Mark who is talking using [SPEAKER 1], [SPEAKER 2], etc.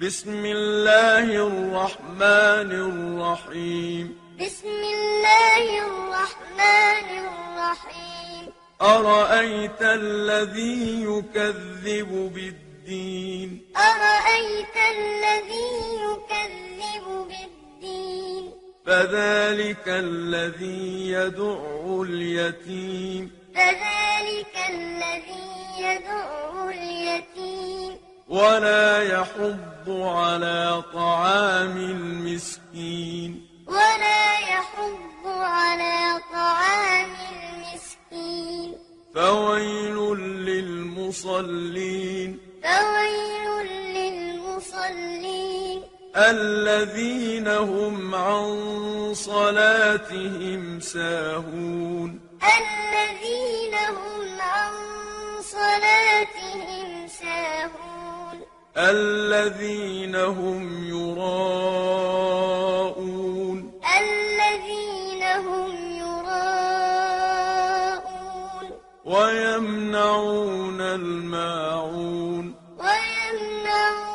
[SPEAKER 1] بسم الله الرحمن الرحيم
[SPEAKER 2] بسم الله الرحمن الرحيم
[SPEAKER 1] أرأيت الذي يكذب بالدين
[SPEAKER 2] أرأيت الذي يكذب بالدين
[SPEAKER 1] فذلك الذي يدع اليتيم
[SPEAKER 2] فذلك الذي يدعو اليتيم
[SPEAKER 1] ولا يحض على طعام المسكين
[SPEAKER 2] ولا يحض على طعام المسكين
[SPEAKER 1] فويل للمصلين
[SPEAKER 2] فويل للمصلين
[SPEAKER 1] الذين هم عن صلاتهم ساهون
[SPEAKER 2] الذين هم عن صلاتهم ساهون
[SPEAKER 1] الذين هم يراءون
[SPEAKER 2] الذين هم يراءون
[SPEAKER 1] ويمنعون الماعون
[SPEAKER 2] ويمنعون